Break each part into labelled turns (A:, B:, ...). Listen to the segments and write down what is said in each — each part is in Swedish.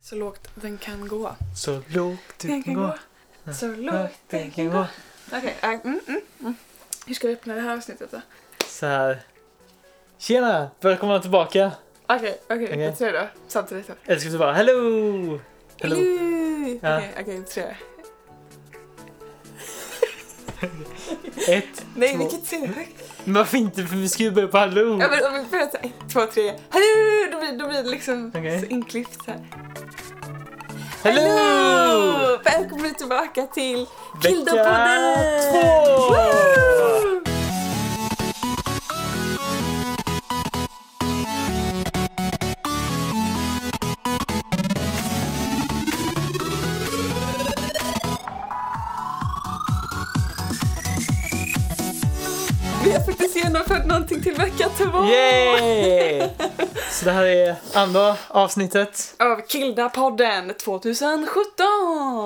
A: Så lågt den kan gå.
B: Så lågt du
A: Den
B: kan
A: kan
B: gå.
A: gå. Så lågt
B: Lågt
A: den kan
B: du kan
A: gå.
B: gå.
A: Okej, äh, mm, mm, mm. hur ska vi öppna det här avsnittet då?
B: Så här. Tjena! Välkomna tillbaka!
A: Okej, okej,
B: Okej.
A: tre då. Samtidigt då.
B: Eller ska vi bara hello! Hello!
A: Yay!
B: Ja.
A: Okej, okej, tre.
B: Ett,
A: Nej,
B: två. Mm.
A: vilket tre?
B: Men varför inte? För vi ska ju börja på hello!
A: Ja, men om vi börjar såhär, ett, två, tre, hallå! Då blir, då blir det liksom
B: Okej.
A: så inklippt såhär.
B: hello!
A: Välkommen tillbaka till
B: Vecka
A: Kildopodden!
B: två!
A: Woo! Vi har faktiskt genomfört någonting till vecka två!
B: Yay! Så det här är andra avsnittet.
A: Av Kilda-podden 2017!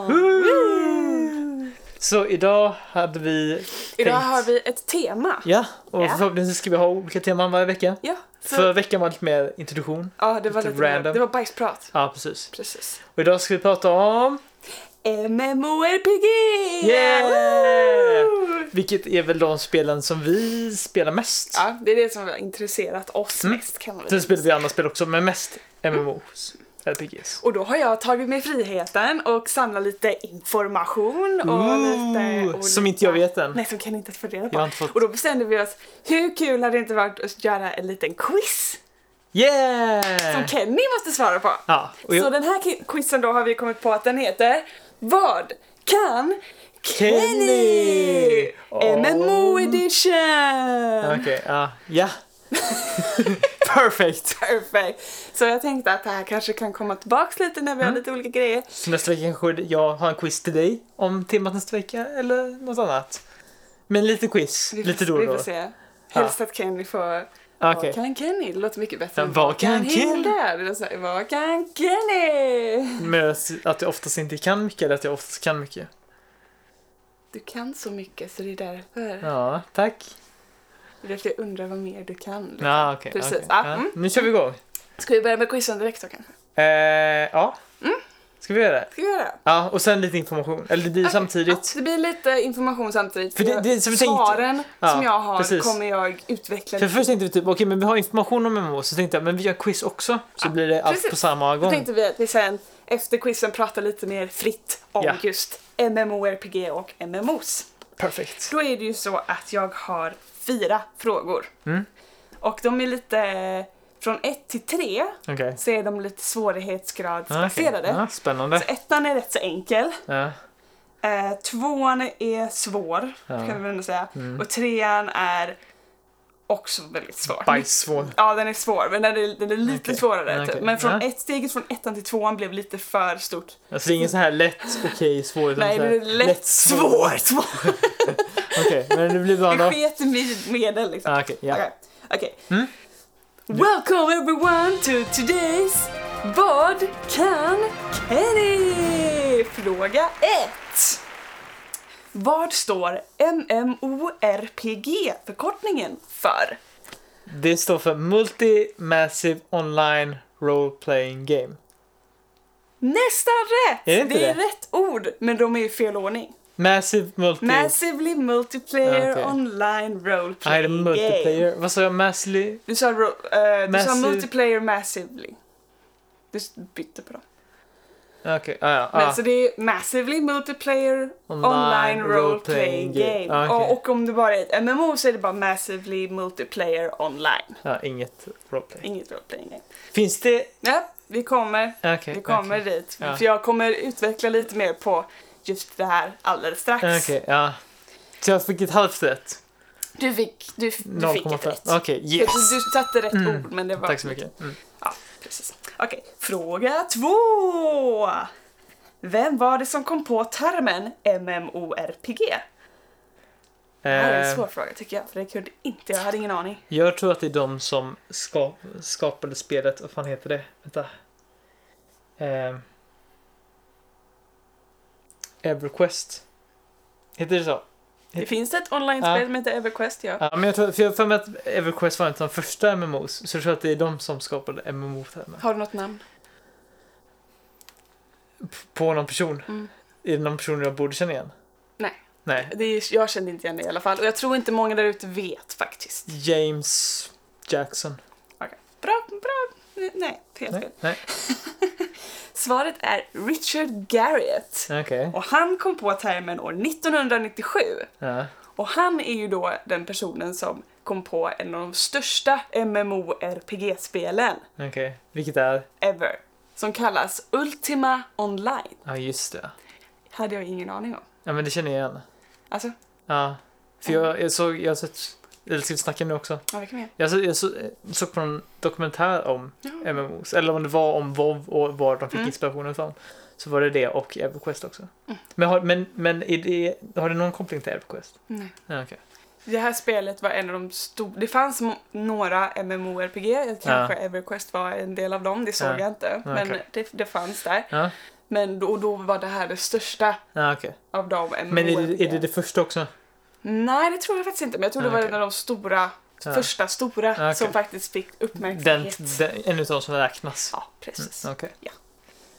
B: Woo! Så idag hade vi
A: Idag
B: tänkt-
A: har vi ett tema.
B: Ja, och
A: Ja.
B: förhoppningsvis ska vi ha olika teman varje vecka.
A: Ja, så,
B: Förra veckan var lite mer introduktion.
A: ja det var
B: lite
A: lite, mer-
B: random.
A: Det var bajsprat.
B: Ja, precis.
A: Precis.
B: Och idag ska vi prata om...
A: MMORPG!
B: Yeah!
A: Woo!
B: Vilket är väl de spelen som vi spelar mest.
A: Ja, det är det som har intresserat oss
B: Mm.
A: mest kan man
B: Sen
A: väl
B: spelar vi andra spel också, men mest MMOs. RPGs.
A: Och då har jag tagit mig friheten och samlat lite information och lite...
B: Ooh,
A: Och
B: som
A: lite-
B: inte jag vet än.
A: Nej, som kan inte få reda
B: Jag
A: på.
B: har inte fått...
A: Och då bestämde vi oss, hur kul hade det inte varit att göra en liten quiz som
B: Yeah!
A: Kenny måste svara på?
B: Eh. Ja, och
A: Så
B: jag...
A: den här ki- quizen då har vi kommit på att den heter Vad kan Kenny?
B: Kenny?
A: MMO
B: Om-
A: edition!
B: Okej, ja. Ja! Perfect!
A: Perfekt! Så jag tänkte att det här kanske kan komma tillbaks lite när vi
B: Mm.
A: har lite olika grejer.
B: Så nästa vecka kanske jag har en quiz till dig om temat nästa vecka eller något annat. Men lite quiz,
A: Vi får,
B: lite då och
A: Vi
B: då.
A: får se. Helst att Kenny får
B: Okej.
A: Vad kan Kenny? Det låter mycket bättre
B: Men vad kan Kenny?
A: Hilda? Det låter så här, Vad kan Kenny?
B: Men att jag oftast inte kan mycket eller att jag oftast kan mycket.
A: Du kan så mycket så det är därför.
B: Ja, tack.
A: Det är därför jag undrar vad mer du kan. liksom.
B: Ja, okej.
A: Precis.
B: okej.
A: Ah,
B: Ja,
A: mm.
B: Nu kör vi igång.
A: Ska vi börja med quizen direkt då kanske?
B: Eh, ja.
A: Mm.
B: Ska vi göra det?
A: Ska vi göra det?
B: Ja, och sen lite information. Eller det blir samtidigt.
A: Ja, det blir lite information samtidigt.
B: För det- det- som vi tänkte-
A: Svaren
B: Ja,
A: som jag har
B: precis.
A: kommer jag utveckla.
B: För först tänkte vi typ, okej men vi har information om MMO, så tänkte jag, men vi gör quiz också. Så blir det allt
A: precis.
B: på samma
A: Då
B: gång.
A: tänkte vi att vi sen efter quizen pratar lite mer fritt om
B: Ja.
A: just MMORPG och MMOs.
B: Perfekt.
A: Då är det ju så att jag har fyra frågor.
B: Mm.
A: Och de är lite från ett till tre
B: Okej.
A: så är de lite
B: Ah, okej.
A: svårighetsgradsbaserade.
B: Ja, spännande.
A: Så ettan är rätt så enkel.
B: Ja.
A: Eh, tvåan är svår,
B: Ja. Mm.
A: kan vi ändå säga. Och trean är också väldigt svår.
B: Bajssvår.
A: Ja, den är svår, men den är, den är lite
B: Okej.
A: svårare.
B: Okej.
A: Typ. Men från
B: Ja.
A: ett steget från ettan till tvåan blev lite för stort.
B: Alltså det är ingen så här lätt, okej, svår. utan
A: Nej,
B: så
A: det
B: här
A: är lätt, svår. svår.
B: Okej, men det blir bra
A: Det
B: då.
A: sket i mid- medel liksom.
B: Ah, Okej, ja.
A: Okej. Okej.
B: Mm.
A: Welcome everyone to today's Vad kan Kenny? Fråga 1. Vad står MMORPG-förkortningen för?
B: Det står för Multi-Massive Online Role Playing Game.
A: Nästan rätt!
B: Är det inte
A: är
B: det?
A: rätt ord, men de är i fel ordning.
B: Massive Multi...
A: Massively multiplayer
B: Ja, okej.
A: online role
B: Nej, det är
A: playing game.
B: multiplayer. Vad sa jag? Massively?
A: Du sa, ro- eh, du sa
B: Massive-
A: multiplayer massively. Du s- bytte på dem.
B: Okej, ah, ja.
A: Men
B: Ah.
A: så det är massively multiplayer online, role playing game.
B: Ah, okej.
A: och, och om det bara är ett MMO så är det bara massively multiplayer online.
B: Ja, inget roleplay.
A: Inget role playing game.
B: Finns det...
A: Ja, vi kommer,
B: Okej.
A: vi kommer
B: okej.
A: dit.
B: Ja.
A: För jag kommer utveckla lite mer på just det här alldeles strax.
B: Okej, ja. Så jag fick ett halvt rätt?
A: Du fick, du, du fick ett
B: 0,5.
A: rätt.
B: Okej, yes!
A: Du, du satte rätt
B: Mm.
A: ord men det var...
B: Tack så mycket. Mm.
A: Ja, precis. Okej, fråga två. Vem var det som kom på termen MMORPG? Mm. Det här är en
B: Eh,
A: svår fråga tycker jag, för det kunde inte jag. hade ingen aning.
B: jag tror att det är de som ska, skapade spelet. Vad fan heter det? Vänta. Eh, Everquest. Heter det så?
A: Det finns ett online-spel
B: Ja.
A: som heter EverQuest, ja.
B: Ja, men jag tror, för jag har för mig att Everquest var en av de första MMOs, så jag tror att det är de som skapade MMO-termer.
A: Har du något namn?
B: på någon person.
A: Mm.
B: Är det någon person jag borde känna igen?
A: Nej,
B: Nej.
A: det är, jag kände inte igen det i alla fall. Och jag tror inte många där ute vet faktiskt.
B: James Jackson.
A: Okej. Bra, bra. Nej, helt fel.
B: Nej, nej.
A: Svaret är Richard Garriott.
B: Okej.
A: Och han kom på termen år 1997.
B: Ja.
A: Och han är ju då den personen som kom på en av de största MMORPG-spelen
B: Okej. Vilket är?
A: ever. Som kallas Ultima Online.
B: Ja, just det.
A: Hade jag ingen aning om.
B: Ja, men det känner jag igen.
A: Alltså,
B: Ja. För jag, jag såg, jag har sett, eller ska vi snacka nu också?
A: ja, vi kan med.
B: Jag, så, jag så, såg på en dokumentär om
A: Ja.
B: MMOs, eller om det var om WoW och var de fick
A: Mm.
B: inspirationen ifrån. Så var det det och EverQuest också. Men, har, men, men är det, har det någon koppling till EverQuest?
A: Nej.
B: Ja, okej.
A: Det här spelet var en av de stora, det fanns mo- några MMORPG, kanske Everquest var en del av dem, det såg
B: Ja.
A: jag inte.
B: Ja,
A: Men
B: okej.
A: det, det fanns där.
B: Ja,
A: Men då, och då var det här det största
B: ja okej.
A: av de MMORPG.
B: Men är det, är det det första också?
A: Nej, det tror jag faktiskt inte. Men jag tror det
B: Ah,
A: var
B: okej.
A: en av de stora,
B: Ja.
A: första stora
B: okej.
A: som faktiskt fick
B: Den,
A: uppmärksamhet.
B: den, en utav dem som räknas?
A: Ja, precis.
B: Mm, Okej.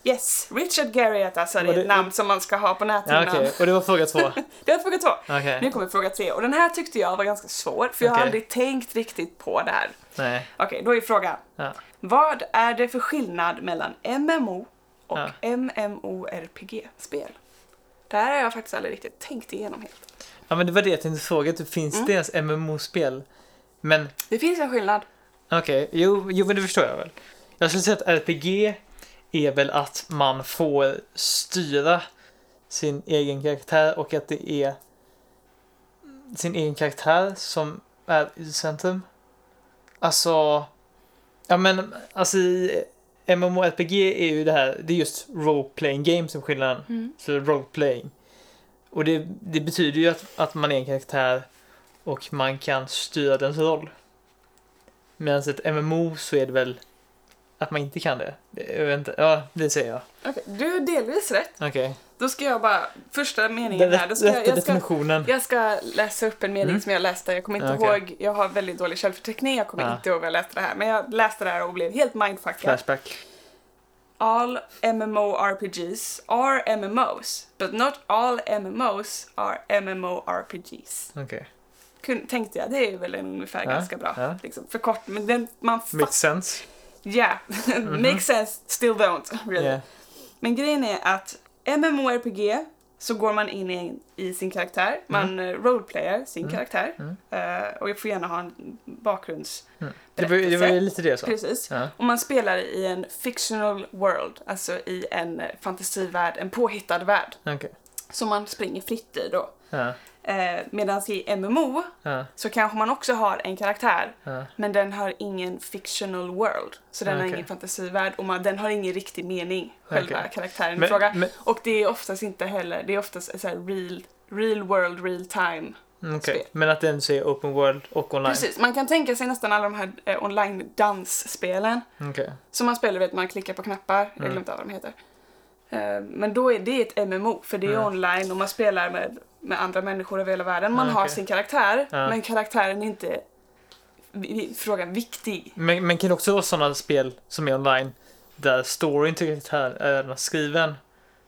A: Yes, Richard Garriott alltså, det
B: Var
A: är ett
B: det-
A: namn som man ska ha på
B: Ja,
A: näthinnan.
B: okej. Och det var fråga två?
A: Det var fråga två.
B: Okej.
A: Nu kommer fråga tre och den här tyckte jag var ganska svår för jag har
B: Okej.
A: aldrig tänkt riktigt på det här.
B: Nej.
A: Okej, då är frågan.
B: Ja.
A: Vad är det för skillnad mellan MMO och
B: Ja.
A: MMORPG-spel? Det här har jag faktiskt aldrig riktigt tänkt igenom helt.
B: ja, men det var det jag tänkte fråga. Typ, finns
A: Mm.
B: det ens MMO-spel? Men
A: Det finns en skillnad.
B: Okej, jo, jo men det förstår jag väl. Jag skulle säga att RPG är väl att man får styra sin egen karaktär och att det är sin egen karaktär som är i centrum. Alltså, ja men alltså i MMORPG är ju det här, det är just role-playing game som är skillnaden.
A: Mm.
B: Så role-playing. Och det, det betyder ju att, att man är en karaktär och man kan styra dens roll. Medan ett MMO så är det väl att man inte kan det. Jag vet inte. Ja, det säger jag.
A: Okej, du har delvis rätt.
B: Okej.
A: Då ska jag bara, första meningen
B: Den
A: här, då
B: rätt,
A: ska
B: rätta
A: jag, jag ska
B: definitionen.
A: jag ska läsa upp en mening
B: Mm.
A: som jag läste, jag kommer inte
B: Ja, okej.
A: ihåg, jag har väldigt dålig källförteckning, jag kommer
B: Ja.
A: inte ihåg vad jag läste det här, men jag läste det här och blev helt mindfuckad.
B: Flashback.
A: All MMORPGs are MMOs, but not all MMOs are MMORPGs.
B: Okej.
A: Kun, tänkte jag, det är väl en ungefär
B: Ja,
A: ganska bra
B: ja.
A: liksom, för kort, men den, man fattar...
B: Makes sense.
A: Yeah, makes sense, still don't. Really.
B: Mhm. Yeah.
A: Men grejen är att MMORPG så går man in i, i sin karaktär, man mm. roleplayar sin karaktär
B: Mm.
A: eh, och jag får gärna ha en bakgrunds...
B: Mm. Det, var, det var ju lite det jag sa.
A: Precis.
B: Ja.
A: Och man spelar i en fictional world, alltså i en eh, fantasivärld, en påhittad värld
B: Okej.
A: som man springer fritt i då.
B: Ja.
A: Eh, Medan i MMO
B: Ja.
A: så kanske man också har en karaktär
B: Ja. Ah,
A: men den har ingen fictional world, så den har
B: Okej.
A: ingen fantasivärld och man, den har ingen riktig mening, själva
B: Okej.
A: karaktären i
B: Men-
A: fråga.
B: men-
A: Och det är oftast inte heller, det är oftast så här real, real world, real time.
B: Okej.
A: Spel.
B: Men att den så är open world och online.
A: Precis, man kan tänka sig nästan alla de här eh, online dansspelen
B: Okej.
A: som man spelar, vet man klickar på knappar, jag
B: Mm.
A: har glömt av vad de heter. Eh, Men då är det ett MMO, för det är
B: Mm.
A: online och man spelar med, med andra människor över hela världen. Man
B: Ja,
A: har
B: Ah, okej.
A: sin karaktär,
B: Ja.
A: men karaktären är inte, i- i frågan, viktig.
B: Men, men kan det också vara sådana spel som är online där storyn till karaktären är skriven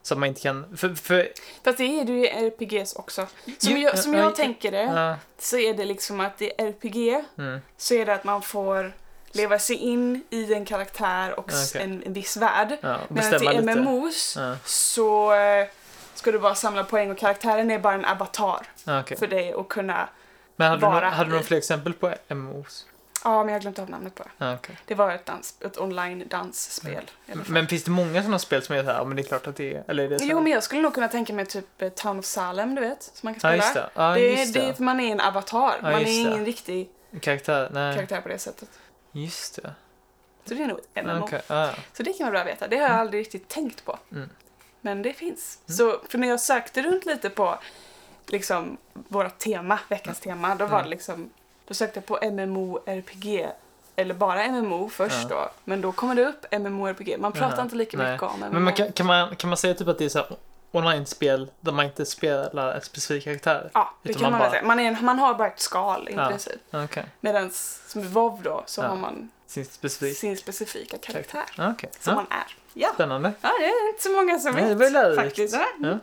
B: så att man inte kan... För, för,
A: Fast det är det ju i RPGs också. Som
B: Jo,
A: jag, som
B: ja,
A: jag
B: ja,
A: tänker det
B: ja.
A: så är det liksom att i RPG
B: mm,
A: så är det att man får leva sig in i en karaktär och s-
B: Okej.
A: en, en viss värld.
B: ja, och
A: Medan
B: bestämma
A: i
B: lite.
A: MMOs
B: Ja,
A: så eh, ska du bara samla poäng och karaktären är bara en avatar
B: ja, okej.
A: för dig att kunna...
B: Men hade du,
A: vara
B: några, hade du några
A: i.
B: fler exempel på MMOs?
A: Ja, men jag glömde av namnet på det.
B: Ja, okej.
A: Det var ett, dans, ett online dansspel. i alla fall.
B: Mm. Men finns det många sådana spel som är så här, ja, men det är klart att det är, eller är det så här?
A: Jo, men jag skulle nog kunna tänka mig typ eh, Town of Salem, du vet, som man kan
B: Ja,
A: spela.
B: just det. Ja,
A: det,
B: just
A: det är
B: det.
A: för man är en avatar,
B: Ja,
A: man är
B: just det.
A: ingen riktig
B: Karaktär, nej.
A: karaktär på det sättet.
B: Just det.
A: Så det är nog ett MMO.
B: Okej, ja.
A: Så det kan vara bra att veta. Det har jag aldrig riktigt tänkt på.
B: Mm.
A: Men det finns. Så för när jag sökte runt lite på liksom våra tema, veckans tema, då
B: Mm.
A: var det liksom då sökte jag på MMORPG eller bara MMO först
B: Ja.
A: då, men då kommer det upp MMORPG. Man pratar
B: Jaha.
A: inte lika
B: Nej.
A: mycket om MMO.
B: Men man kan, kan, man, kan man säga typ att det är så här online-spel där man inte spelar en specifik karaktär.
A: Ja, det
B: Utan
A: kan man,
B: man
A: väl
B: bara-
A: säga. Man, är, man har bara ett skal i
B: Ja.
A: princip.
B: Okej.
A: Medan som i WoW då så
B: Ja.
A: har man
B: Sin specifik
A: sin specifika karaktär
B: karaktär. Ja, Okej.
A: som
B: Ja,
A: man är. Ja.
B: spännande.
A: ja, det är inte så många som
B: Nej, det var ju
A: vet
B: lärorikt.
A: faktiskt. Ja.
B: Ja.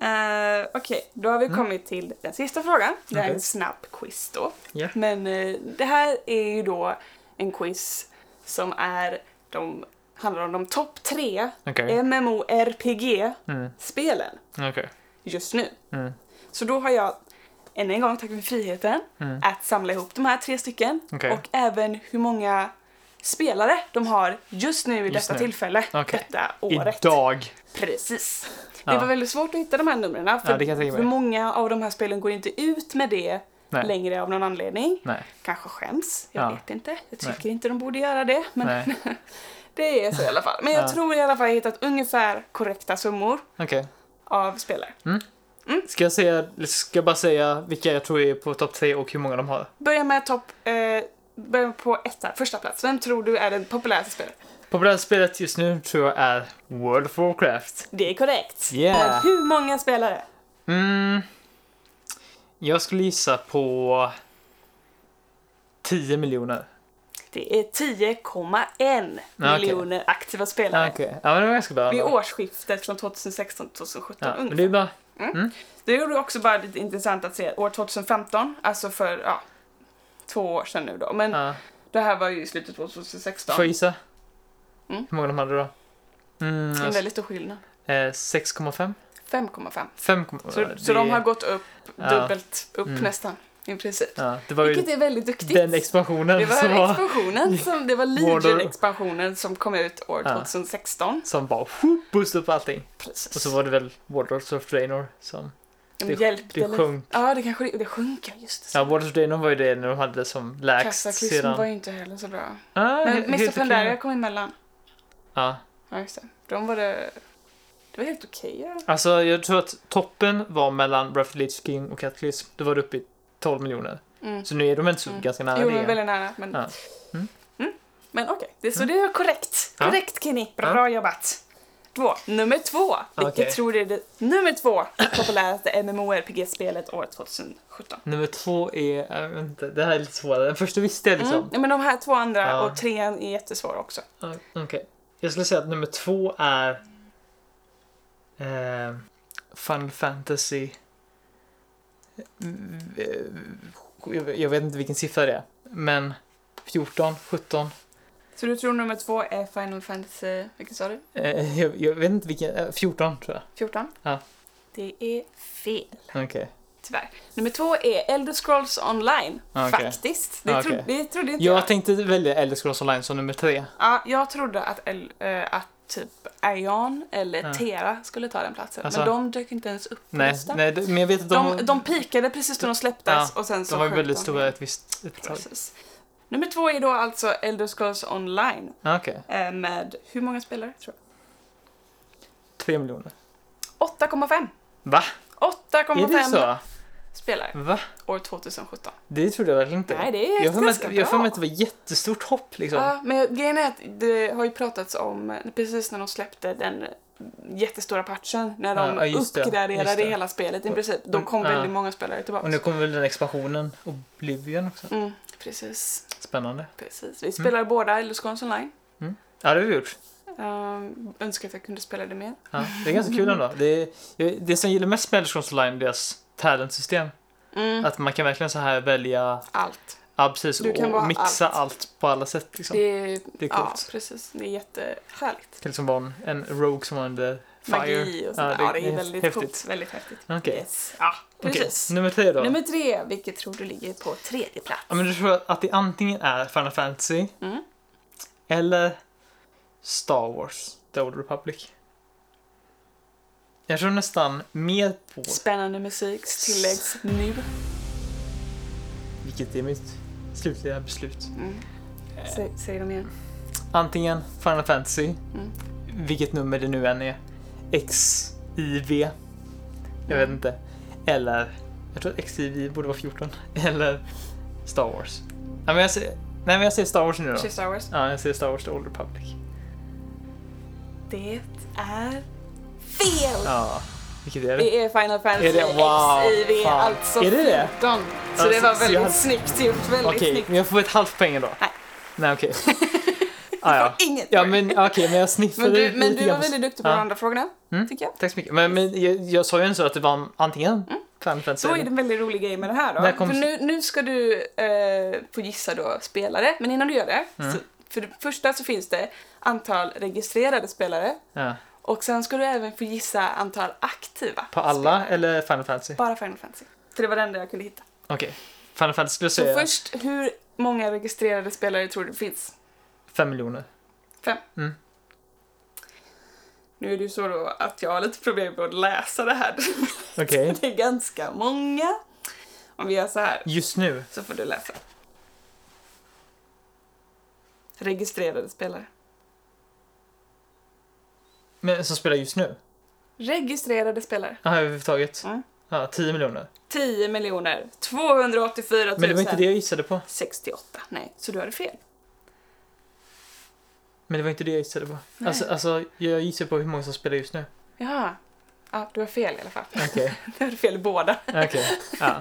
A: Eh, Okej, då har vi
B: Mm.
A: kommit till den sista frågan. Det här är
B: Okej.
A: en snabb quiz då.
B: Ja.
A: Men eh, det här är ju då en quiz som är de, handlar om de topp tre
B: Okej.
A: MMORPG-spelen
B: Mm. Okej.
A: just nu.
B: Mm.
A: Så då har jag än en gång tagit mig friheten
B: Mm.
A: att samla ihop de här tre stycken
B: Okej.
A: och även hur många spelare de har just nu i
B: Just
A: detta
B: nu.
A: tillfälle,
B: Okej.
A: detta året.
B: Idag.
A: Precis. Det
B: Ja.
A: var väldigt svårt att hitta de här numren för,
B: Ja, det kan jag tänka
A: för
B: mig.
A: många av de här spelen går inte ut med det
B: Nej.
A: längre av någon anledning.
B: Nej.
A: Kanske skäms, jag
B: Ja.
A: vet inte. Jag tycker inte de borde göra det, men
B: Nej.
A: det är så i alla fall. Men jag
B: Ja.
A: tror i alla fall jag har hittat ungefär korrekta summor
B: Okej.
A: av spelare.
B: Ska jag säga, ska jag bara säga vilka jag tror är på topp tre och hur många de har?
A: Börja med topp... Eh, börja på etta, första plats. Vem tror du är den populäraste spelaren?
B: Populära spelet just nu tror jag är World of Warcraft.
A: Det är korrekt.
B: Yeah.
A: Men hur många spelare?
B: Mm. Jag skulle gissa på 10 miljoner.
A: Det är 10,1
B: Ja, okej.
A: miljoner aktiva spelare.
B: Ja, Ah, Okej, ja men det var ganska bra.
A: Vid
B: ändå.
A: årsskiftet från 2016 till 2017
B: Ja, men
A: ungefär.
B: det är bara,
A: Det gjorde också bara lite intressant att se år 2015, alltså för ja, två år sedan nu då. Men
B: ja.
A: det här var ju i slutet av
B: Får jag
A: 2016.
B: gissa?
A: Mm.
B: Hur många de hade då? Mm,
A: Det är en
B: alltså,
A: väldigt stor skillnad.
B: eh, 6,5?
A: 5,5.
B: 5,
A: Så, så de har gått upp
B: Ja.
A: dubbelt upp
B: Mm.
A: nästan i princip.
B: Ja, det var ju
A: Vilket är väldigt duktigt.
B: den expansionen
A: Det
B: som, var,
A: var expansionen som, det var
B: Mordor.
A: Legion-expansionen som kom ut år
B: Ja.
A: 2016.
B: som bara whoop, boostade upp allting.
A: Precis.
B: Och så var det väl Warlords of Draenor som...
A: De
B: det-
A: hjälpte
B: Det
A: lite.
B: sjönk.
A: Ja, det kanske det sjönk, ja, just det.
B: Ja, Warlords of Draenor var ju det när de hade det som lägst
A: Kassakrismen
B: sedan...
A: var ju inte heller så bra.
B: Ah,
A: Men
B: helt
A: Mr.
B: okej.
A: Pandaria kom emellan.
B: Ja.
A: Ja, just det. De var det... Det var helt okej. ja.
B: Alltså, jag tror att toppen var mellan Breath of the Lich King och Cataclysm. Då var det uppe i 12 miljoner.
A: Mm.
B: Så nu är de inte så
A: Mm.
B: ganska nära
A: Jo,
B: det.
A: men väldigt nära. Men,
B: Ja.
A: mm.
B: Mm.
A: men okej, det, så det är korrekt.
B: Ja.
A: Korrekt Kenny, bra jobbat. Två. Nummer två. Vilket
B: Okej.
A: tror du är det nummer två populäraste MMORPG-spelet år 2017?
B: Nummer två är... Jag vet inte, det här är lite svårare. Den första visste jag liksom.
A: Mm. Ja, men de här två andra
B: Ja.
A: och trean är jättesvåra också.
B: Ja, Okej. Jag skulle säga att nummer två är... Eh, Final Fantasy... Eh, Jag vet inte vilken siffra det är. Men 14, 17.
A: Så du tror nummer två är Final Fantasy, vilket sa du?
B: Eh, jag, jag vet inte vilken. Eh, 14 tror
A: 14?
B: Ja.
A: Det är fel.
B: jag. Okej.
A: Tyvärr. Nummer två är Elder Scrolls Online.
B: Ah, Okej.
A: Faktiskt. Det,
B: Okej.
A: tro, det trodde inte jag.
B: Jag tänkte välja Elder Scrolls Online som nummer tre.
A: ja, jag trodde att, El, eh, att typ Aion eller
B: Ja.
A: Tera skulle ta den platsen.
B: Ah. Alltså.
A: men de dök inte ens upp på
B: Nej,
A: listan.
B: nej, det- men jag vet att de,
A: de, de, pikade precis när de släpptes och sen så
B: de var
A: sjönk
B: väldigt
A: de.
B: stora ett visst ett tag.
A: Precis. Nummer två är då alltså Elder Scrolls Online.
B: Ja, Ah, Okej,
A: eh, Med hur många spelare tror
B: tre miljoner.
A: jag? 8,5.
B: Va? Är det
A: 8,5
B: så?
A: spelare
B: Va?
A: år 2017.
B: Det trodde jag verkligen inte.
A: Nej, det är
B: jag har för mig
A: ganska
B: att- jag har för
A: bra.
B: mig att det var jättestort hopp liksom.
A: Ja, men jag- grejen är att det har ju pratats om eh, precis när de släppte den jättestora patchen när de
B: Ja, ja, just det,
A: uppgraderade
B: just det.
A: hela spelet i princip. Då
B: Mm,
A: kom
B: ja.
A: väldigt många spelare tillbaka.
B: Och nu kommer väl den expansionen, Oblivion också.
A: Mm, precis,
B: Spännande.
A: precis.
B: Mm.
A: Vi spelade båda Elder Scrolls Online.
B: Ja, det har vi gjort.
A: Um, önskar att jag kunde spela det mer.
B: Ja, det är ganska kul ändå. Det, är- jag- det som jag gillar mest med Elder Scrolls Online är deras talentsystem.
A: Mm,
B: Att man kan verkligen så här välja,
A: allt.
B: ja precis,
A: Du kan vara
B: och mixa allt. på alla sätt liksom.
A: Det
B: Det,
A: är,
B: är
A: ja,
B: coolt.
A: precis. Det är jättehärligt.
B: kan liksom vara en, en rogue som använder fire.
A: Magi och sånt. Ja, det, är väldigt coolt. Väldigt häftigt.
B: Okej.
A: Yes. Ja,
B: Okej,
A: precis.
B: nummer tre då.
A: Nummer tre, vilket tror du ligger på tredje plats?
B: Ja, men du tror att det antingen är Final Fantasy
A: Mm.
B: eller Star Wars, The Old Republic. Jag tror nästan mer på,
A: Spännande musik tilläggs nu.
B: Mm. vilket är mitt slutliga beslut,
A: Mm. Sä, säg dem igen.
B: antingen Final Fantasy,
A: Mm.
B: vilket nummer det nu än är, XIV, jag
A: Mm.
B: vet inte, eller, jag tror att XIV borde vara 14, eller Star Wars. Ja, men jag säger, nej men jag säger Star Wars nu då.
A: Cheers Star Wars.
B: Ja, jag säger Star Wars The Old Republic.
A: Det är Fel!
B: Ja. Vilket är det?
A: Det är Final Fantasy
B: Är det- wow,
A: XIV,
B: fan.
A: alltså
B: Är det det?
A: 14. Så
B: Alltså,
A: det var
B: så
A: väldigt
B: jag hade-
A: snyggt gjort, väldigt
B: Okej,
A: snyggt.
B: men jag får ett halvt poäng då.
A: Nej.
B: Nej, okej. Ah, ja.
A: Inget
B: ja,
A: poäng.
B: men ah, okej, men jag sniffade
A: Men du, men
B: lite
A: du
B: grann
A: var
B: på-
A: väldigt duktig på
B: Ja.
A: de andra frågorna,
B: Mm.
A: tycker jag.
B: Tack så mycket. Men, men jag, jag sa ju ändå så att det var antingen Final Fantasy
A: Då Mm. är det
B: eller...
A: en väldigt rolig grej med det här
B: Där
A: då.
B: kom-
A: För nu, nu ska du eh, få gissa då spelare, men innan du gör det,
B: Mm.
A: så, för det första så finns det antal registrerade spelare
B: Ja.
A: och sen ska du även få gissa antal aktiva.
B: På alla eller Final Fantasy?
A: Bara Final Fantasy. För det var det enda jag kunde hitta.
B: Okej. Final Fantasy skulle jag
A: Så
B: säga
A: först, hur många registrerade spelare tror du finns?
B: 5 miljoner.
A: Fem.
B: Mm.
A: Nu är det ju så då att jag har lite problem med att läsa det här.
B: Okej.
A: Det är ganska många. Om vi gör så här.
B: Just nu.
A: Så får du läsa. Registrerade spelare.
B: Men som spelar just nu?
A: Registrerade spelare.
B: Ja, överhuvudtaget.
A: Mm.
B: Ja, 10 miljoner.
A: 10 miljoner 284 000.
B: Men det var inte det jag gissade på.
A: 68. Nej, så du hade fel.
B: Men det var inte det jag gissade på.
A: Nej.
B: Alltså, alltså, jag gissar på hur många som spelar just nu.
A: Ja. Ja, du har fel i alla fall.
B: Okej.
A: Du hade fel i båda.
B: Okej. Ja.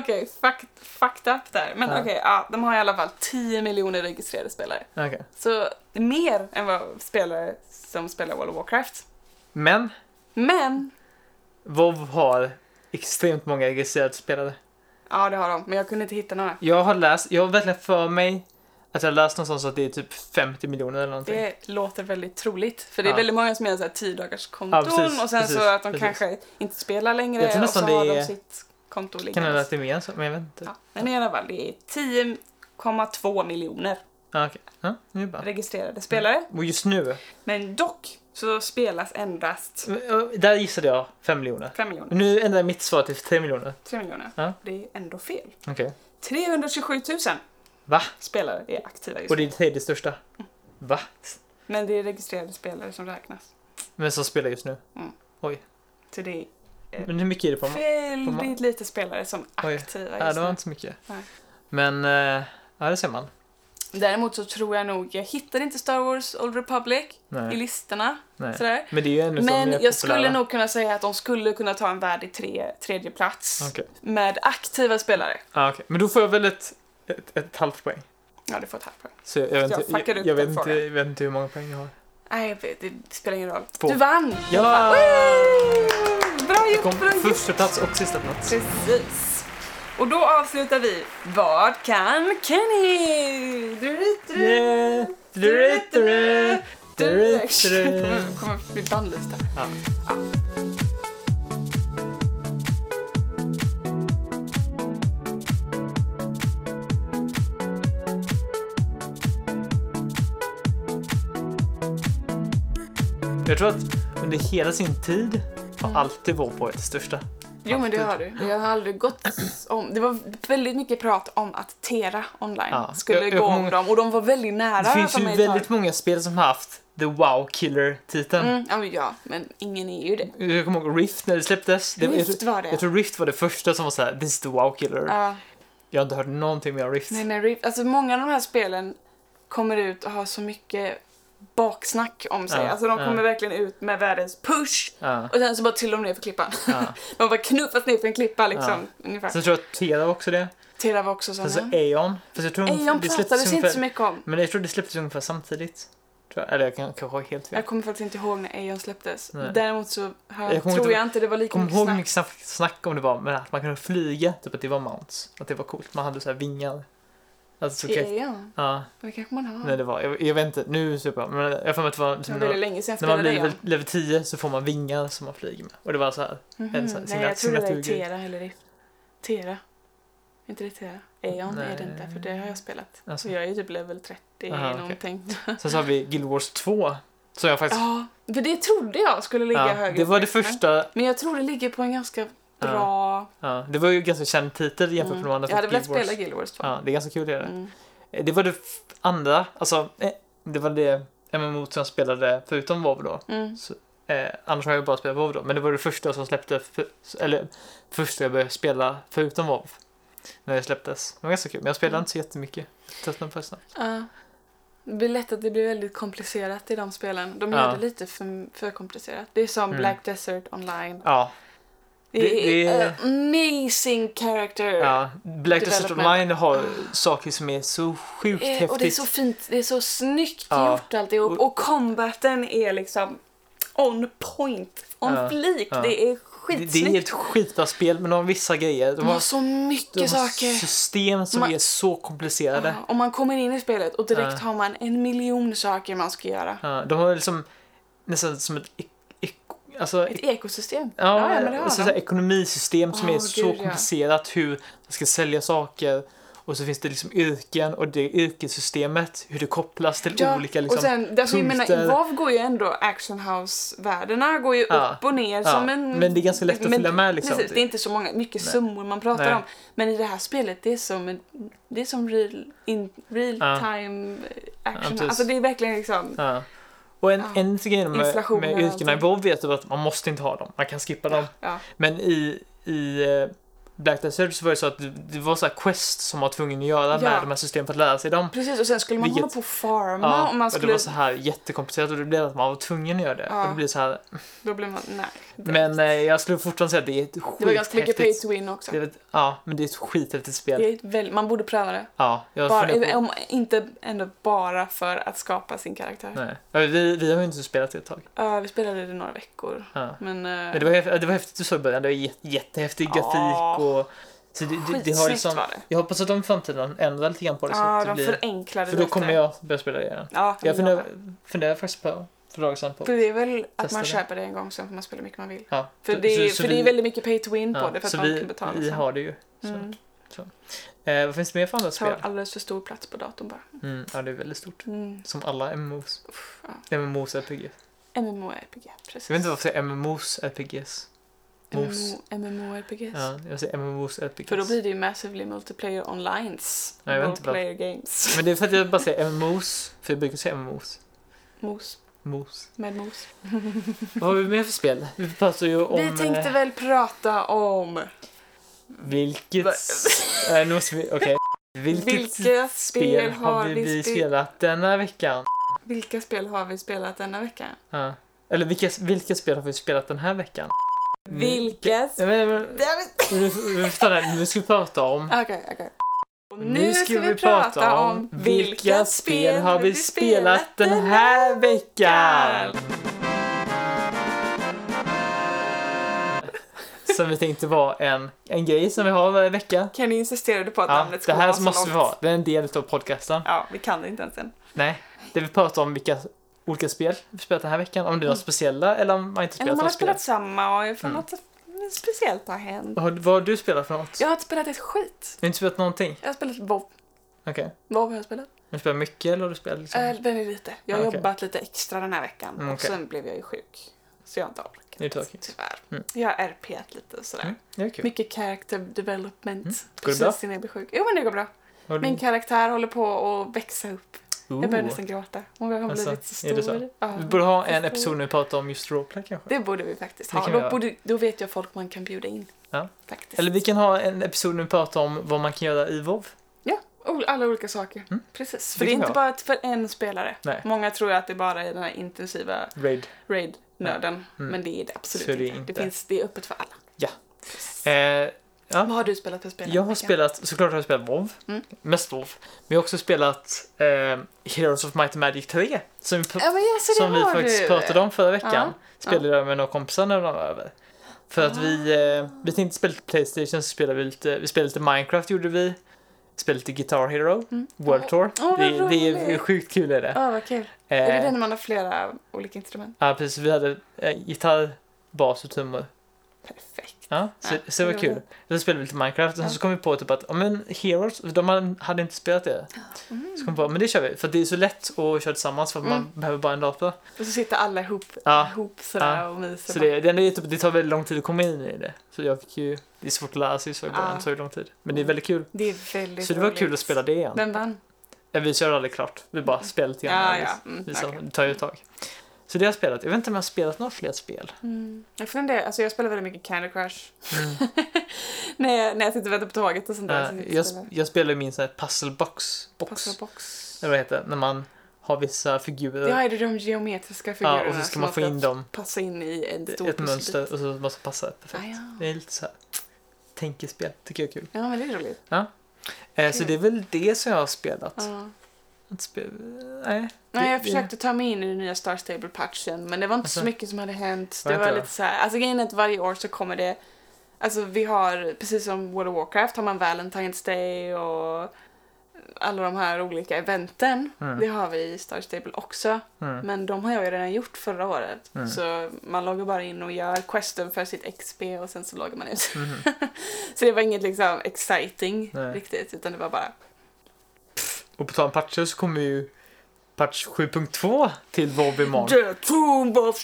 A: Okej, fuck, fucked up där. Men
B: Ja.
A: okej, ja, de har i alla fall 10 miljoner registrerade spelare.
B: Okej.
A: Så mer än vad spelare som spelar World of Warcraft.
B: Men,
A: Men,
B: WoW har extremt många registrerade spelare.
A: ja det har de, men jag kunde inte hitta några.
B: Jag har läst, jag har verkligen för mig att jag har läst någonstans att det är typ 50 miljoner eller någonting.
A: Det låter väldigt troligt. För det är
B: Ja.
A: väldigt många som gör så här 10 dagars konton
B: Ja, precis,
A: och sen
B: precis,
A: så att de
B: precis.
A: kanske inte spelar längre
B: Jag tror
A: och så
B: nästan
A: har
B: det
A: de
B: är-
A: sitt konto
B: Kan det
A: liggande.
B: att det är mer än så? Men jag vet inte.
A: Ja, men i alla fall, det är 10,2 miljoner
B: Ja, Ah, okej. Ja, nu bara.
A: registrerade spelare.
B: Och just nu, eh,
A: Men dock så spelas endast
B: eh, där gissade jag 5 miljoner.
A: 5 miljoner,
B: Nu ändrar jag mitt svar till 3 miljoner.
A: 3 miljoner.
B: Ja.
A: Det är ändå fel.
B: Okej.
A: 327 000
B: Va?
A: spelare är aktiva just
B: Och
A: nu.
B: det är det tredje största? Va?
A: Men det är registrerade spelare som räknas.
B: Men som spelar just nu?
A: Så det är
B: Men hur mycket är det på mig?
A: väldigt lite spelare som
B: Oj.
A: är aktiva
B: Ja,
A: just
B: det var
A: nu.
B: inte så mycket.
A: Nej.
B: Men, eh, ja det ser man.
A: Däremot så tror jag nog, jag hittade inte Star Wars Old Republic i
B: Nej.
A: listorna.
B: Nej.
A: Sådär.
B: Men det är ju ännu så
A: Men
B: mer
A: jag skulle
B: populära.
A: nog kunna säga att de skulle kunna ta en värdig tre, tredje plats
B: Okej.
A: med aktiva spelare.
B: Ja, Ah, okej. Men då får jag väl ett, ett, ett halvt poäng.
A: Ja, du får ett halvt poäng.
B: Så jag, jag, vet,
A: Jag
B: inte,
A: fuckade upp
B: jag, jag, vet,
A: den
B: inte,
A: frågan.
B: jag vet inte hur många poäng jag har.
A: Nej, det, det spelar ingen roll.
B: Två.
A: Du vann!
B: Ja!
A: Woo! Bra
B: Jag kom
A: gjort, bra gjort!
B: första plats och sista plats.
A: Precis. Och då avslutar vi Vad kan Kenny? Du, du, du.
B: Yeah. Du, du, du, du, du.
A: Kommer- Kommer bli bannlysta.
B: Ja. Jag tror att under hela sin tid
A: Mm.
B: har alltid vår poet största.
A: Jo men det har du. Det har aldrig gått om. Det var väldigt mycket prat om att Tera online
B: Ja.
A: skulle
B: Jag- jag
A: gå
B: kommer
A: om
B: ihåg-
A: dem och de var väldigt nära.
B: Det finns
A: för
B: ju
A: mig ett tag.
B: väldigt många spel som har haft the wow killer-titeln.
A: Mm, ja, men ja, men ingen är ju det.
B: Jag kommer ihåg Rift när det släpptes. Det, jag,
A: Mm. Rift
B: tror,
A: var det.
B: jag tror Rift var det första som var såhär, this is the wow killer.
A: Ja,
B: Jag har inte hört någonting mer om Rift.
A: nej, nej, Rift. Alltså många av de här spelen kommer ut och har så mycket baksnack om sig.
B: Ja,
A: alltså de
B: ja.
A: kommer verkligen ut med världens push
B: Ja,
A: och sen så bara till dem ner för klippan.
B: ja.
A: De bara knuffas ner för en klippa liksom. Ungefär.
B: Sen tror jag att Tera var också det.
A: Tera var också sån.
B: Sen så
A: här.
B: Aeon. Fast jag tror
A: Eon
B: det
A: pratades
B: släpptes
A: inte
B: ungefär,
A: så mycket om.
B: Men jag tror det släpptes ungefär samtidigt. Tror jag. Eller jag kan- kanske har helt fel.
A: Jag kommer faktiskt inte ihåg när Eon släpptes.
B: Nej.
A: Däremot så har,
B: Jag kommer
A: tror
B: inte-
A: jag inte det var
B: Jag
A: lika
B: kommer
A: mycket
B: ihåg hur
A: snack.
B: mycket snack, snack om det var, men att man kunde flyga, typ att det var mounts. Att det var coolt, man hade så här vingar. Alltså så
A: I Mm.
B: kul.
A: Eon?
B: Ja,
A: Det kanske man har.
B: nej det var, jag, jag vet inte, nu super jag, men jag har för mig att det var
A: det
B: som
A: var
B: när,
A: väldigt
B: man-
A: länge sedan jag
B: när man
A: spelade
B: blir
A: Eon.
B: level- level 10 så får man vingar som man flyger med. Och det var så här,
A: Mhm.
B: en sån här
A: Nej, jag tror det där är
B: signaturgrej.
A: Tera eller Rift. Tera. Är inte det Tera? Eon är det inte,
B: Nej.
A: för det har jag spelat.
B: Alltså.
A: Så jag är ju typ level 30
B: Aha, okej.
A: någonting.
B: Sen så har vi Guild Wars 2, som jag faktiskt...
A: Ja, för det trodde jag skulle ligga
B: ja,
A: högre.
B: det var
A: upp,
B: det
A: men-
B: första,
A: Men jag tror det ligger på en ganska
B: Ja.
A: bra...
B: ja, det var ju ganska känd titel jämfört med de andra.
A: Mm. Jag hade
B: för
A: velat
B: Guild Wars.
A: spela Guild Wars 2.
B: Ja, det är ganska kul det är det.
A: Mm.
B: Eh, Det var det f- andra, alltså eh, det var det MMO som jag spelade förutom WoW då.
A: Mm.
B: Eh, annars har jag bara spelat WoW då, men det var det första som släppte, för, eller första jag började spela förutom WoW. När det släpptes. Det var ganska kul, men jag spelade
A: Mm.
B: inte så jättemycket. Jag Tröttnade på det snabbt.
A: Ja. Det blir lätt att det blir väldigt komplicerat i de spelen. De
B: Ja.
A: gör det lite för, för komplicerat. Det är som
B: Mm.
A: Black Desert Online.
B: Ja,
A: Det,
B: Det-
A: är
B: det-
A: amazing character.
B: ja. Black Desert
A: Development.
B: Online har saker som är så sjukt
A: Ah. Eh,
B: häftigt.
A: Och det är så fint, det är så snyggt
B: Ja.
A: gjort alltihop. Och combaten är liksom on point, on
B: Ja,
A: flik.
B: ja.
A: Det är
B: det, det är
A: skitsnyggt.
B: ett skitbra spel, men de har vissa grejer. De
A: De har
B: har,
A: så mycket
B: de har
A: saker.
B: system som
A: Man-
B: är så komplicerade.
A: Ja, och man kommer in i spelet och direkt
B: Ja.
A: har man en miljon saker man ska göra.
B: Ja, de har liksom nästan som ett... ek- ek- Alltså,
A: Ett ekosystem.
B: ja,
A: men det har
B: och så
A: de.
B: här ekonomisystem som
A: Åh,
B: är
A: gud,
B: så
A: ja.
B: komplicerat hur man ska sälja saker. Och så finns det liksom yrken och det yrkessystemet, hur det kopplas till
A: Ja,
B: olika liksom...
A: och sen, alltså, jag menar,
B: punkter.
A: i WoW går ju ändå Action House-världarna går ju
B: Ja.
A: upp och ner
B: Ja,
A: som en...
B: men det är ganska lätt att
A: men-
B: följa med, liksom.
A: Precis, det är inte så många, mycket
B: Nej.
A: summor man pratar
B: Nej.
A: om. Men i det här spelet, det är som, en, det är som real, in, real
B: Ja.
A: time eh, action.
B: precis.
A: alltså det är verkligen liksom...
B: Ja. Och en,
A: Ja.
B: en grej med,
A: Inflation
B: med
A: och
B: yrkena i
A: allting.
B: WoW vet du att man måste inte ha dem, man kan skippa dem.
A: Ja,
B: Men i, i eh, Black Desert så var det så att det- det var så här quest som man var tvungen att göra
A: Ja.
B: med de här systemen för att lära sig dem.
A: precis, och sen skulle man
B: Vilket-
A: hålla på och farma
B: Ja,
A: och man
B: och det
A: skulle...
B: var så här jättekomplicerat och det blev att man var tvungen att göra det.
A: Ja.
B: Och det blev så här,
A: Då blev man... Nej. Det,
B: men eh, jag skulle fortfarande säga att det är ett
A: det var ganska mycket pay
B: skithäftigt
A: to win också.
B: det är ett- Ja, men det är ett skithäftigt
A: Det
B: spel.
A: är ett väl, man borde pröva det.
B: Ja, jag funderar
A: Bara,
B: på,
A: om, inte ändå bara för att skapa sin karaktär.
B: nej. Ja, Vi, vi har ju inte spelat det ett tag.
A: Ja, vi spelade det några veckor.
B: Ja.
A: Men, eh,
B: Men det var, häf- det var häftigt du sa i början, det var jä- jättehäftig
A: Ja.
B: grafik och... Så det, det, det har
A: skitsnyggt
B: liksom,
A: var det.
B: jag hoppas att de i framtiden ändrar lite grann på det så
A: Ja,
B: att det
A: de
B: blir...
A: förenklade
B: För då
A: lite.
B: kommer jag börja spela det igen.
A: Ja, men
B: Jag funderar, funderar faktiskt på för dagar sedan på...
A: För det är väl att
B: Testa
A: man
B: det.
A: köper det en gång sen får man spela hur mycket man vill.
B: Ja.
A: För,
B: så-
A: det, är,
B: så- så
A: för det
B: vi-
A: är väldigt mycket pay to win
B: ja,
A: på det för att
B: så
A: man
B: vi,
A: kan betala
B: Vi
A: sen.
B: har det ju. Så.
A: Mm.
B: Eh, vad finns det mer för andra
A: Tar
B: spel?
A: alldeles för stor plats på datorn bara.
B: Mm, ja, det är väldigt stort.
A: Mm.
B: Som alla MMOs.
A: Uff,
B: MMOs RPG.
A: ja. MMORPG, precis.
B: Jag vet inte varför jag säger MMOs RPGs. Mos.
A: MMO, MMORPGs.
B: Ja, jag säger MMOs RPGs.
A: För då blir det ju massively multiplayer onlines.
B: Ja, jag vet
A: Role
B: inte vad-
A: player games.
B: Men det är för att jag bara säger MMOs. För jag brukar säga MMOs.
A: Mos.
B: Mos.
A: Med mos.
B: Vad har vi mer för spel? Vi pratar ju om...
A: Vi tänkte
B: eh,
A: väl prata om
B: Vilket...
A: Va-
B: eh, nu måste vi... Okej. Vilket,
A: vilka spel har vi, spe-
B: spelat denna veckan?
A: Vilka spel har vi spelat denna veckan?
B: Ja. Eller vilka, vilka spel har vi spelat den här veckan?
A: Mm. Vilka
B: Nej, men, men, vi, vi får ta det här. Nu ska vi prata om...
A: Okej, okej. Och Nu ska vi prata om vilka spel har vi spelat den här
B: här veckan? Som vi tänkte var en, en grej som vi har varje vecka.
A: Kan ni insistera på att
B: Ja,
A: namnet
B: det
A: ska vara
B: här
A: så
B: måste vi
A: långt?
B: ha. Det är en del av podcasten.
A: Ja, vi kan det inte ens än.
B: Nej, det vi pratar om vilka olika spel vi spelat den här veckan. Om det är något speciella eller om man inte
A: Mm. Eller om
B: spelat
A: man har
B: något spel.
A: spelat Mm. samma och för något speciellt har hänt.
B: Har- Vad har du spelat för något?
A: Jag har inte spelat ett skit.
B: Du har inte spelat någonting?
A: Jag har spelat WoW.
B: Okej.
A: WoW har jag spelat.
B: Har du spelat mycket eller har du spelat liksom?
A: Äh, väldigt lite. Jag har
B: Ja, okej.
A: jobbat lite extra den här veckan
B: Mm,
A: och
B: okej.
A: sen blev jag ju sjuk. Så jag har inte orkat.
B: Det är tråkigt.
A: Tyvärr.
B: Mm.
A: Jag har RP't lite och sådär.
B: Mm, det är kul.
A: Mycket character development.
B: Mm. Går det bra?
A: Precis innan jag blir sjuk. Jo men det går bra.
B: Har du-
A: Min karaktär håller på att växa upp. Jag börjar nästan gråta. Hon kommer
B: Alltså,
A: bli lite så
B: är det
A: stor.
B: så?
A: Ja.
B: Vi borde ha en
A: Förstår.
B: episod när vi pratar om just roleplay kanske.
A: Det borde vi faktiskt
B: Det
A: ha.
B: kan vi
A: Då,
B: göra.
A: borde, då vet jag folk man kan bjuda in.
B: Ja.
A: Faktiskt.
B: Eller vi kan ha en episod när vi pratar om vad man kan göra i WoW.
A: O- Oh, Alla olika saker.
B: Mm.
A: Precis.
B: Det
A: För det är
B: kan vi
A: inte bara för en spelare.
B: Nej.
A: Många tror att det bara är den här intensiva
B: Raid.
A: raid-nörden.
B: Mm.
A: Men det är det absolut
B: Så är det
A: inte.
B: inte.
A: Det, finns, det är öppet för alla.
B: Eh, Ja.
A: Vad har du spelat för spel?
B: jag har spelat, såklart har jag spelat WoW.
A: Mm.
B: Mest WoW. Men jag har också spelat eh, Heroes of Might and Magic 3. Som vi, pr-
A: Ja, men ja, så det
B: som vi
A: har
B: faktiskt
A: du.
B: pratade om förra veckan.
A: Ja, Ah.
B: Spelade jag med några kompisar när de var över. För att vi, eh, vi tänkte spela lite Playstation, så spelade vi lite, vi spelade lite Minecraft gjorde vi. Spelade lite Guitar Hero,
A: Mm.
B: World Tour.
A: Åh, vad
B: det, det är
A: roligt.
B: sjukt kul är det.
A: Ja, vad kul. Är det
B: Eh,
A: den när man har flera olika instrument?
B: Ja, precis. Vi hade eh, gitarr, bas och trummor.
A: Perfekt.
B: Ja, så,
A: Ja,
B: så det var
A: det
B: kul.
A: gjorde
B: Sen spelade vi lite Minecraft och sen
A: Ja.
B: så kom vi på typ att, ja men Heroes, de hade- hade inte spelat det. Så kom vi på, men det kör vi. För det är så lätt att köra tillsammans för att man
A: Mm.
B: behöver bara en dator.
A: Och så sitter alla ihop,
B: Ja.
A: ihop sådär
B: Ja.
A: och myser.
B: Så det, det, enda är typ, det tar väldigt lång tid att komma in i det. Så jag fick ju, det är svårt att lära sig så i början,
A: Ja. Mm.
B: så det tar lång tid. Men det är väldigt kul.
A: Det är väldigt
B: Så det var
A: roligt.
B: kul att spela det igen.
A: Vem vann?
B: Ja, Vi körde aldrig klart, vi bara spelade lite
A: Mm. Ja,
B: grann.
A: ja. Mm,
B: Vi sa,
A: okej.
B: Det tar ju ett tag. Så det har jag spelat. Jag vet inte om jag har spelat några fler spel.
A: Mm. Jag funderar, alltså jag spelar väldigt mycket Candy Crush.
B: Mm.
A: när, jag, när jag sitter och väntar på tåget och sånt där.
B: Nej,
A: så sitter
B: Eh, jag,
A: och spelar
B: jag spelade min sån här puzzle box. box.
A: Puzzle box.
B: Eller vad det heter När man har vissa figurer.
A: Ja, är det de geometriska figurerna
B: ja, och så ska
A: som
B: man få in dem
A: passa in i en
B: i
A: stor
B: ett mönster och så måste det passa perfekt.
A: Ah, ja.
B: Det är lite så här tänkespel, tycker jag är kul.
A: ja, men det är roligt.
B: Eh, så
A: Kul.
B: det är väl det som jag har spelat.
A: Ja.
B: Att spe... Nej.
A: Nej, jag
B: Det-
A: försökte ta mig in i den nya Star Stable-patchen men det var inte så
B: Alltså.
A: mycket som hade hänt.
B: Var
A: Det
B: det
A: var
B: inte
A: lite så här, alltså grejen är att varje år så kommer det, alltså vi har, precis som World of Warcraft har man Valentine's Day och alla de här olika eventen.
B: Mm.
A: Det har vi i Star Stable också.
B: Mm.
A: Men de har jag ju redan gjort förra året.
B: Mm.
A: Så man loggar bara in och gör questen för sitt XP och sen så loggar man ut.
B: Mhm.
A: Så det var inget liksom exciting
B: Nej.
A: riktigt utan det var bara
B: Och på tal om patcher så kommer ju patch 7.2 till WoW imorgon.
A: The Tomb of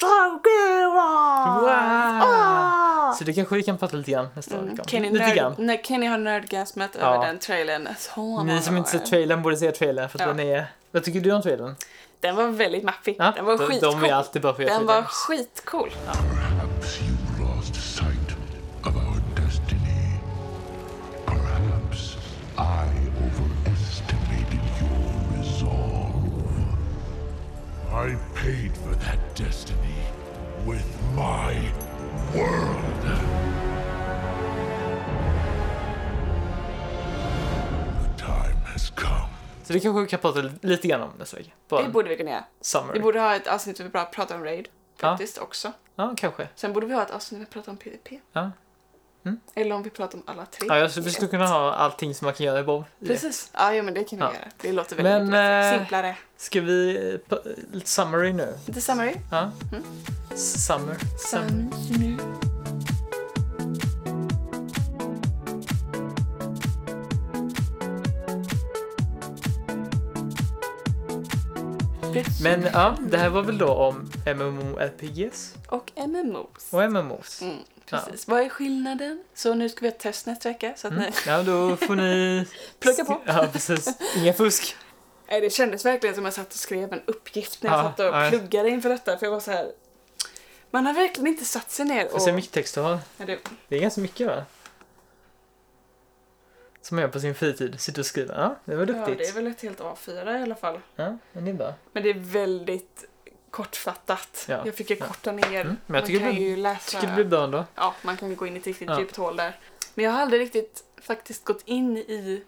A: Sargeras!
B: Wow!
A: Ah!
B: Så det kanske vi kan prata lite grann nästa
A: Mm.
B: vecka.
A: Kenny,
B: Lite
A: nörd-
B: grann.
A: Nej, Kenny har nördgasmat
B: Ja.
A: över den trailern så många
B: Ni som inte
A: år.
B: sett trailern borde se trailern för att
A: Ja.
B: den är... Vad tycker du om trailern?
A: Den var väldigt maffig.
B: Ja,
A: den var
B: de-
A: skitcool.
B: De är alltid bra på att göra
A: den var
B: trailern.
A: skitcool.
C: Perhaps you lost sight of our destiny. Perhaps I overestimated your resolve. I paid for that destiny with my world. The time has come.
B: Så det kanske vi kan prata lite grann om nästa vecka. Bara
A: Det borde vi kunna göra.
B: summer.
A: Vi borde ha ett avsnitt där vi bara pratar om Raid. Faktiskt också.
B: Ja, kanske.
A: Sen borde vi ha ett avsnitt där vi pratar om PVP.
B: Ja. Mm.
A: Eller om vi pratar om alla tre.
B: Ja, jag, vi skulle kunna ha allting som man kan göra i WoW. i det.
A: Precis. Ja, ja, men det kan vi
B: Ja.
A: göra. Det låter
B: Men,
A: väldigt lätt.
B: eh,
A: simplare.
B: Ska vi... eh, pa- Lite summary nu.
A: Lite summary.
B: Ja. Summer. Summer.
A: Summary.
B: Men ja, det här var väl då om MMORPGs
A: Och MMOs.
B: och MMOs.
A: Mm, precis. Vad är skillnaden? Så nu ska vi ha ett test nästa vecka. Så att
B: Mm.
A: ni...
B: Ja, då får ni...
A: Plugga på.
B: Ja, precis. Inga fusk.
A: Nej, det kändes verkligen som att jag satt och skrev en uppgift när jag
B: Ja,
A: satt och
B: ja.
A: pluggade inför detta. För jag var så här. Man har verkligen inte satt sig ner
B: Får
A: och...
B: se hur mycket text du har.
A: Ja, det-
B: Det är ganska mycket va? Som man gör på sin fritid. Sitter och skriver. Ja, det var
A: ja, det är
B: duktigt.
A: väl ett helt A4 i alla fall.
B: Ja, men det är bra.
A: Men det är väldigt kortfattat.
B: Ja.
A: Jag fick ju
B: Ja.
A: korta ner.
B: Mm, men jag
A: Man
B: tycker
A: kan
B: det-
A: ju läsa...
B: Tycker det blir bra ändå.
A: Ja, man kan ju gå in i ett riktigt
B: Ja.
A: djupt hål där. Men jag har aldrig riktigt faktiskt gått in i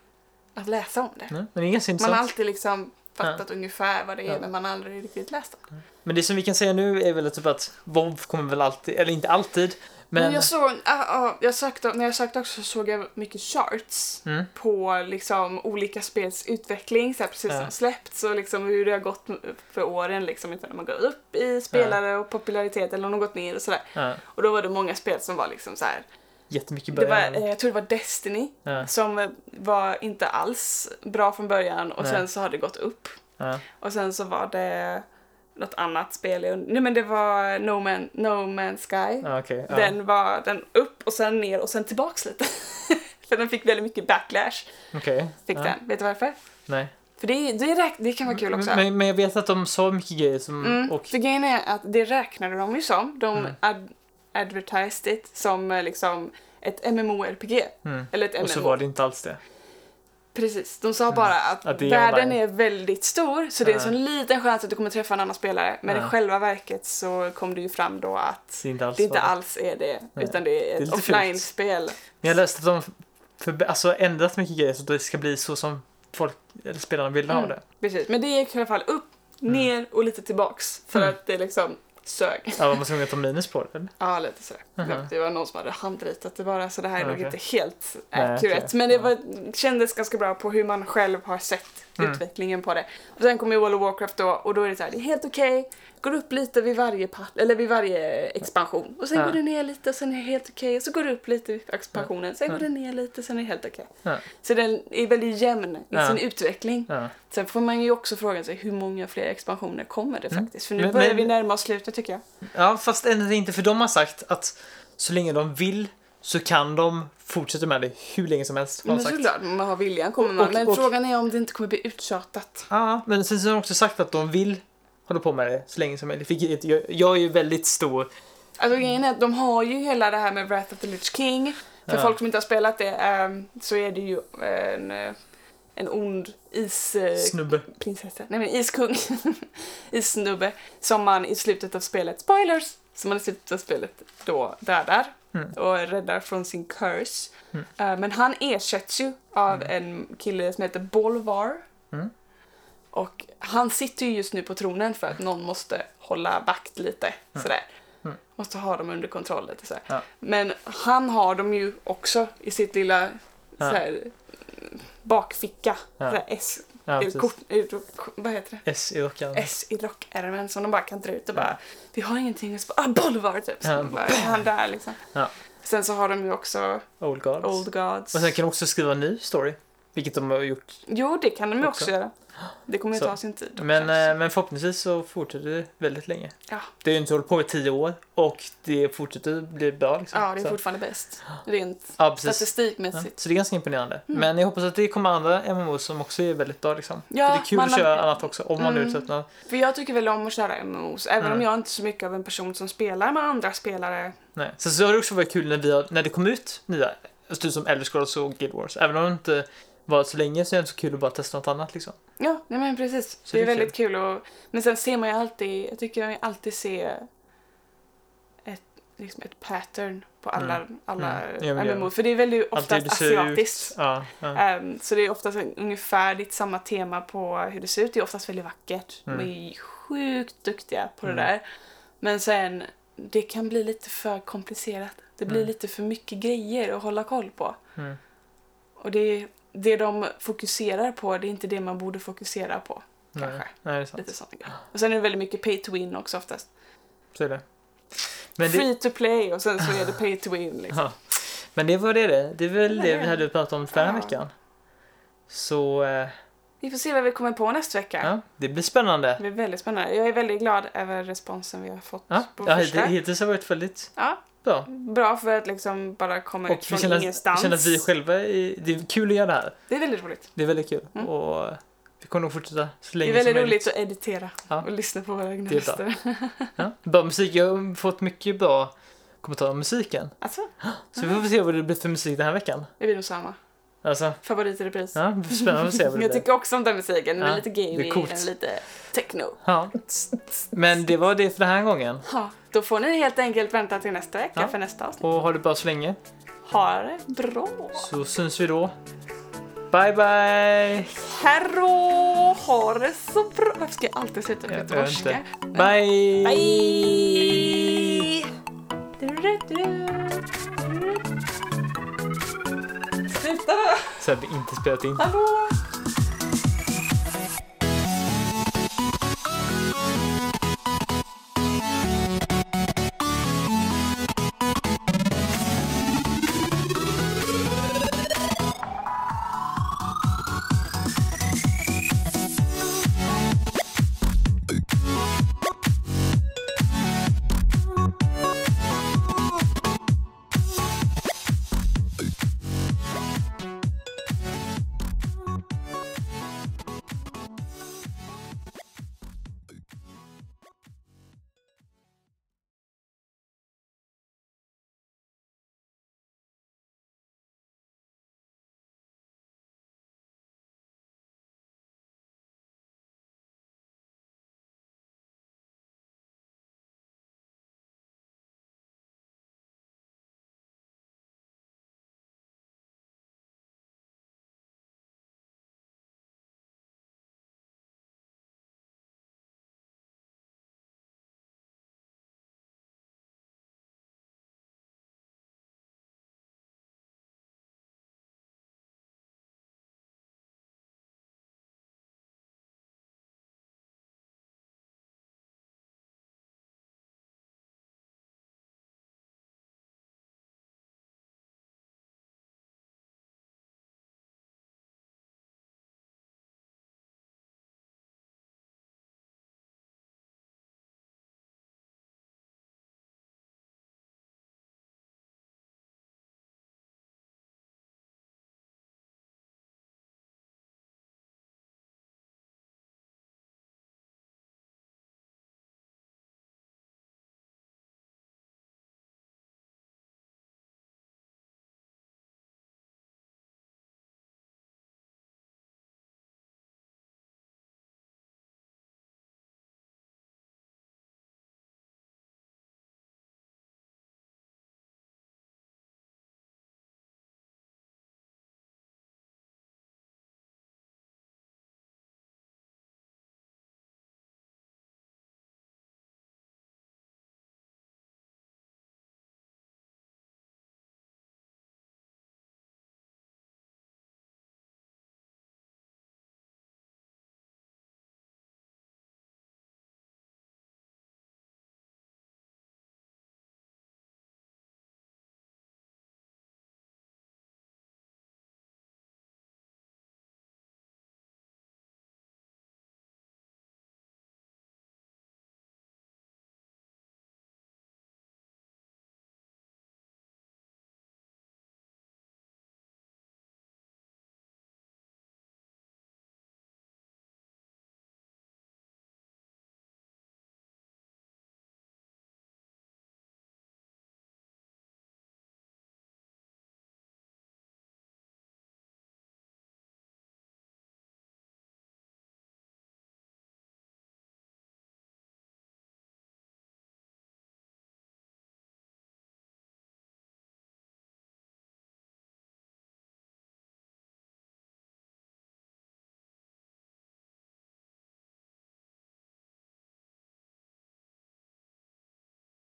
A: att läsa om det.
B: Ja, men det är ganska
A: Man
B: intressant.
A: har alltid liksom fattat ungefär vad det är
B: Ja.
A: men man har aldrig riktigt läst om det.
B: Men det som vi kan säga nu är väl typ att WoW kommer väl alltid, eller inte alltid, men...
A: Men, jag såg, ah, ah, jag sökte, när jag sökte också så såg jag mycket charts
B: Mm.
A: på liksom olika spels utveckling, så här precis
B: Ja.
A: som släppts och liksom hur det har gått för åren liksom när man går upp i spelare och popularitet eller om de gått ner och sådär.
B: Ja,
A: Och då var det många spel som var liksom så här.
B: jättemycket i
A: Det var,
B: början.
A: eh, jag tror det var Destiny
B: ja,
A: som eh, var inte alls bra från början och
B: Nej.
A: sen så har det gått upp.
B: ja.
A: Och sen så var det något annat spel. i- Nej men det var No, Man, no Man's Sky.
B: ja okej. ja.
A: Den var den upp och sen ner och sen tillbaks lite. För den fick väldigt mycket backlash.
B: Okej.
A: Fick
B: ja,
A: den. Vet du varför?
B: Nej.
A: För det, det, räk- det kan vara kul också.
B: Men, men jag vet att de sa mycket grejer som...
A: Mm,
B: Och, Mm.
A: För grejen är att det räknade de ju som. De ad- advertised it som eh, liksom ett MMORPG.
B: mm.
A: Eller ett MMO.
B: och så var det inte alls det.
A: Precis, de sa bara att,
B: Att det är Mm.
A: världen
B: online.
A: är väldigt stor så det är
B: Ja.
A: så en liten chans att du kommer träffa en annan spelare. Men
B: Ja.
A: i själva verket så kom det ju fram då att
B: Det är inte alls
A: det inte
B: var det.
A: alls är det,
B: Nej.
A: utan det är ett
B: Mm. lite fult.
A: offline-spel.
B: Men jag läste att de för, alltså, ändrat mycket grejer så att det ska bli så som folk, eller spelarna vill ha
A: Mm.
B: det.
A: Precis, men det gick i alla fall upp,
B: Mm.
A: ner och lite tillbaks för
B: Mm.
A: att det liksom sög.
B: Ja, var man tvungen att ta minus på det? eller?
A: Ja, lite sådär.
B: Mhm.
A: Det var någon som hade handritat det bara så det här är nog
B: Okej.
A: inte helt
B: Nej,
A: accurate.
B: okej.
A: Men det
B: Ja.
A: var, kändes ganska bra på hur man själv har sett
B: Mm.
A: utvecklingen på det. Och sen kommer ju World of Warcraft då och då är det så här, det är helt okej. Går upp lite vid varje, pat- eller vid varje expansion. Och sen
B: Ja.
A: går det ner lite och sen är det helt okej. Och så går det upp lite vid expansionen. Sen
B: Ja.
A: går det ner lite och sen är det helt okej.
B: Ja.
A: Så den är väldigt jämn i
B: Ja.
A: sin utveckling.
B: Ja.
A: Sen får man ju också fråga sig hur många fler expansioner kommer det
B: Mm.
A: faktiskt? För nu
B: Men-
A: börjar
B: men-
A: vi närma oss slutet tycker jag.
B: Ja, fast ändå inte för de har sagt att så länge de vill så kan de fortsätta med det hur länge som helst. Har
A: Men
B: de sagt.
A: såklart, man har viljan kommer man.
B: Och-
A: men
B: och-
A: frågan är om det inte kommer bli uttjatat.
B: Ja, men sen så har de också sagt att de vill hålla på med det så länge som möjligt. vilket Jag, jag är ju väldigt stor.
A: Alltså
B: Mm.
A: grejen är att de har ju hela det här med Wrath of the Lich King. För
B: Ja.
A: folk som inte har spelat det ehm, så är det ju en eh, en ond is... eh,
B: Snubbe.
A: prinsessa, nej men iskung, issnubbe som man i slutet av spelet, spoilers, som man i slutet av spelet då dödar
B: Mm.
A: och räddar från sin curse.
B: Mm.
A: Eh, men han ersätts ju av en kille som heter Bolvar.
B: Mm.
A: Och han sitter ju just nu på tronen för att någon måste hålla vakt lite sådär.
B: Mm.
A: Måste ha dem under kontroll lite sådär.
B: Ja.
A: Men han har dem ju också i sitt lilla
B: Ja.
A: såhär, bakficka,
B: Ja.
A: sådär S
B: Ja,
A: är det
B: precis.
A: eh, kort, är det, vad heter det?
B: S i rockan.
A: S i rockärmen som de bara kan dra ut och bara Vi har ingenting att spara, ah, Bolivar typ! Så
B: Ja,
A: de bara, är han där liksom.
B: Ja.
A: Sen så har de ju också
B: Old Gods.
A: Old Gods.
B: Och sen kan de också skriva en ny story. Vilket de har gjort.
A: Jo, det kan de ju också,
B: Också.
A: göra. Det kommer ju
B: Så.
A: ta sin tid. också.
B: Men, eh, men förhoppningsvis så fortsätter det väldigt länge.
A: ja.
B: Det har ju inte hållit på i tio år och det fortsätter bli bra liksom.
A: ja, det är
B: så.
A: fortfarande bäst. Rent
B: Ja, precis. Ja.
A: statistikmässigt.
B: Så det är ganska imponerande.
A: Mm.
B: Men jag hoppas att det kommer andra MMO som också är väldigt bra liksom.
A: Ja,
B: För det är kul
A: man
B: att
A: har-
B: köra annat också om man nu
A: Mm.
B: tröttnar.
A: För jag tycker väl om att köra MMOs, även om jag inte är så mycket av en person som spelar med andra spelare.
B: Nej. Sen så har det också varit kul när, vi har, när det kom ut nya, alltså typ som Elder Scrolls och Guild Wars. Även om det inte varit så länge så är det så kul att bara testa något annat liksom.
A: Ja, nej men precis.
B: Så
A: det är
B: det är
A: väldigt kul och, Men sen ser man ju alltid, jag tycker jag alltid ser ett, liksom ett pattern på alla, alla
B: Mm. Ja, men det-
A: MMO. För det är väldigt oftast
B: det ser ut.
A: asiatiskt.
B: Ja, ja.
A: Ehm, så det är oftast ungefärligt samma tema på hur det ser ut. Det är oftast väldigt vackert.
B: Mm.
A: De är sjukt duktiga på det
B: Mm.
A: där. Men sen, det kan bli lite för komplicerat. Det blir
B: Mm.
A: lite för mycket grejer att hålla koll på.
B: Mm.
A: Och det, det de fokuserar på, det är inte det man borde fokusera på.
B: Nej,
A: Kanske.
B: nej, det är sant.
A: Lite sånt. Och sen är det väldigt mycket pay to win också oftast.
B: Så är det. Men det,
A: Free to play och sen så är det pay to win. Liksom.
B: ja. Men det var det det. Det är väl
A: Det
B: det
A: var
B: vi
A: det.
B: hade pratat om förra
A: Ja.
B: veckan. Så eh,
A: Vi får se vad vi kommer på nästa vecka.
B: ja, det blir spännande.
A: Det blir väldigt spännande. Jag är väldigt glad över responsen vi har fått
B: Ja,
A: på
B: ja,
A: första.
B: hitt- hittills har det varit väldigt
A: Ja,
B: bra.
A: bra för att liksom bara komma
B: Och
A: ut
B: vi
A: från
B: känner, vi
A: ingenstans.
B: känner att vi själva är, det är kul att göra det här.
A: Det är väldigt roligt.
B: Det är väldigt kul.
A: Mm.
B: Och eh, vi kommer nog fortsätta så
A: Det
B: länge
A: är väldigt
B: som
A: roligt att editera
B: Ja.
A: och lyssna på våra egna
B: Det är bra.
A: röster.
B: Ja. Bra musik. Jag har fått mycket bra kommentarer om musiken.
A: Alltså,
B: Så vi får se vad det blir för musik den här veckan.
A: det blir nog samma.
B: Alltså,
A: Favorit i repris.
B: ja, det blir spännande att se vad det
A: Jag
B: blir.
A: tycker också om den musiken. Den
B: Ja,
A: är lite
B: det
A: gamey,
B: är coolt.
A: den är lite techno.
B: Ja. Men det var det för den här gången.
A: Ja, då får ni helt enkelt vänta till nästa vecka
B: Ja.
A: för nästa avsnitt.
B: Och ha det bra så länge.
A: Ha det bra!
B: Så syns vi då. Bye bye!
A: Herro! Ha det så bra! Varför ska jag alltid sluta på
B: Jag vet
A: göteborgska?
B: inte. Bye!
A: Hej! Du-du-du. Sluta då!
B: Så har vi inte spelat in.
A: Hallå!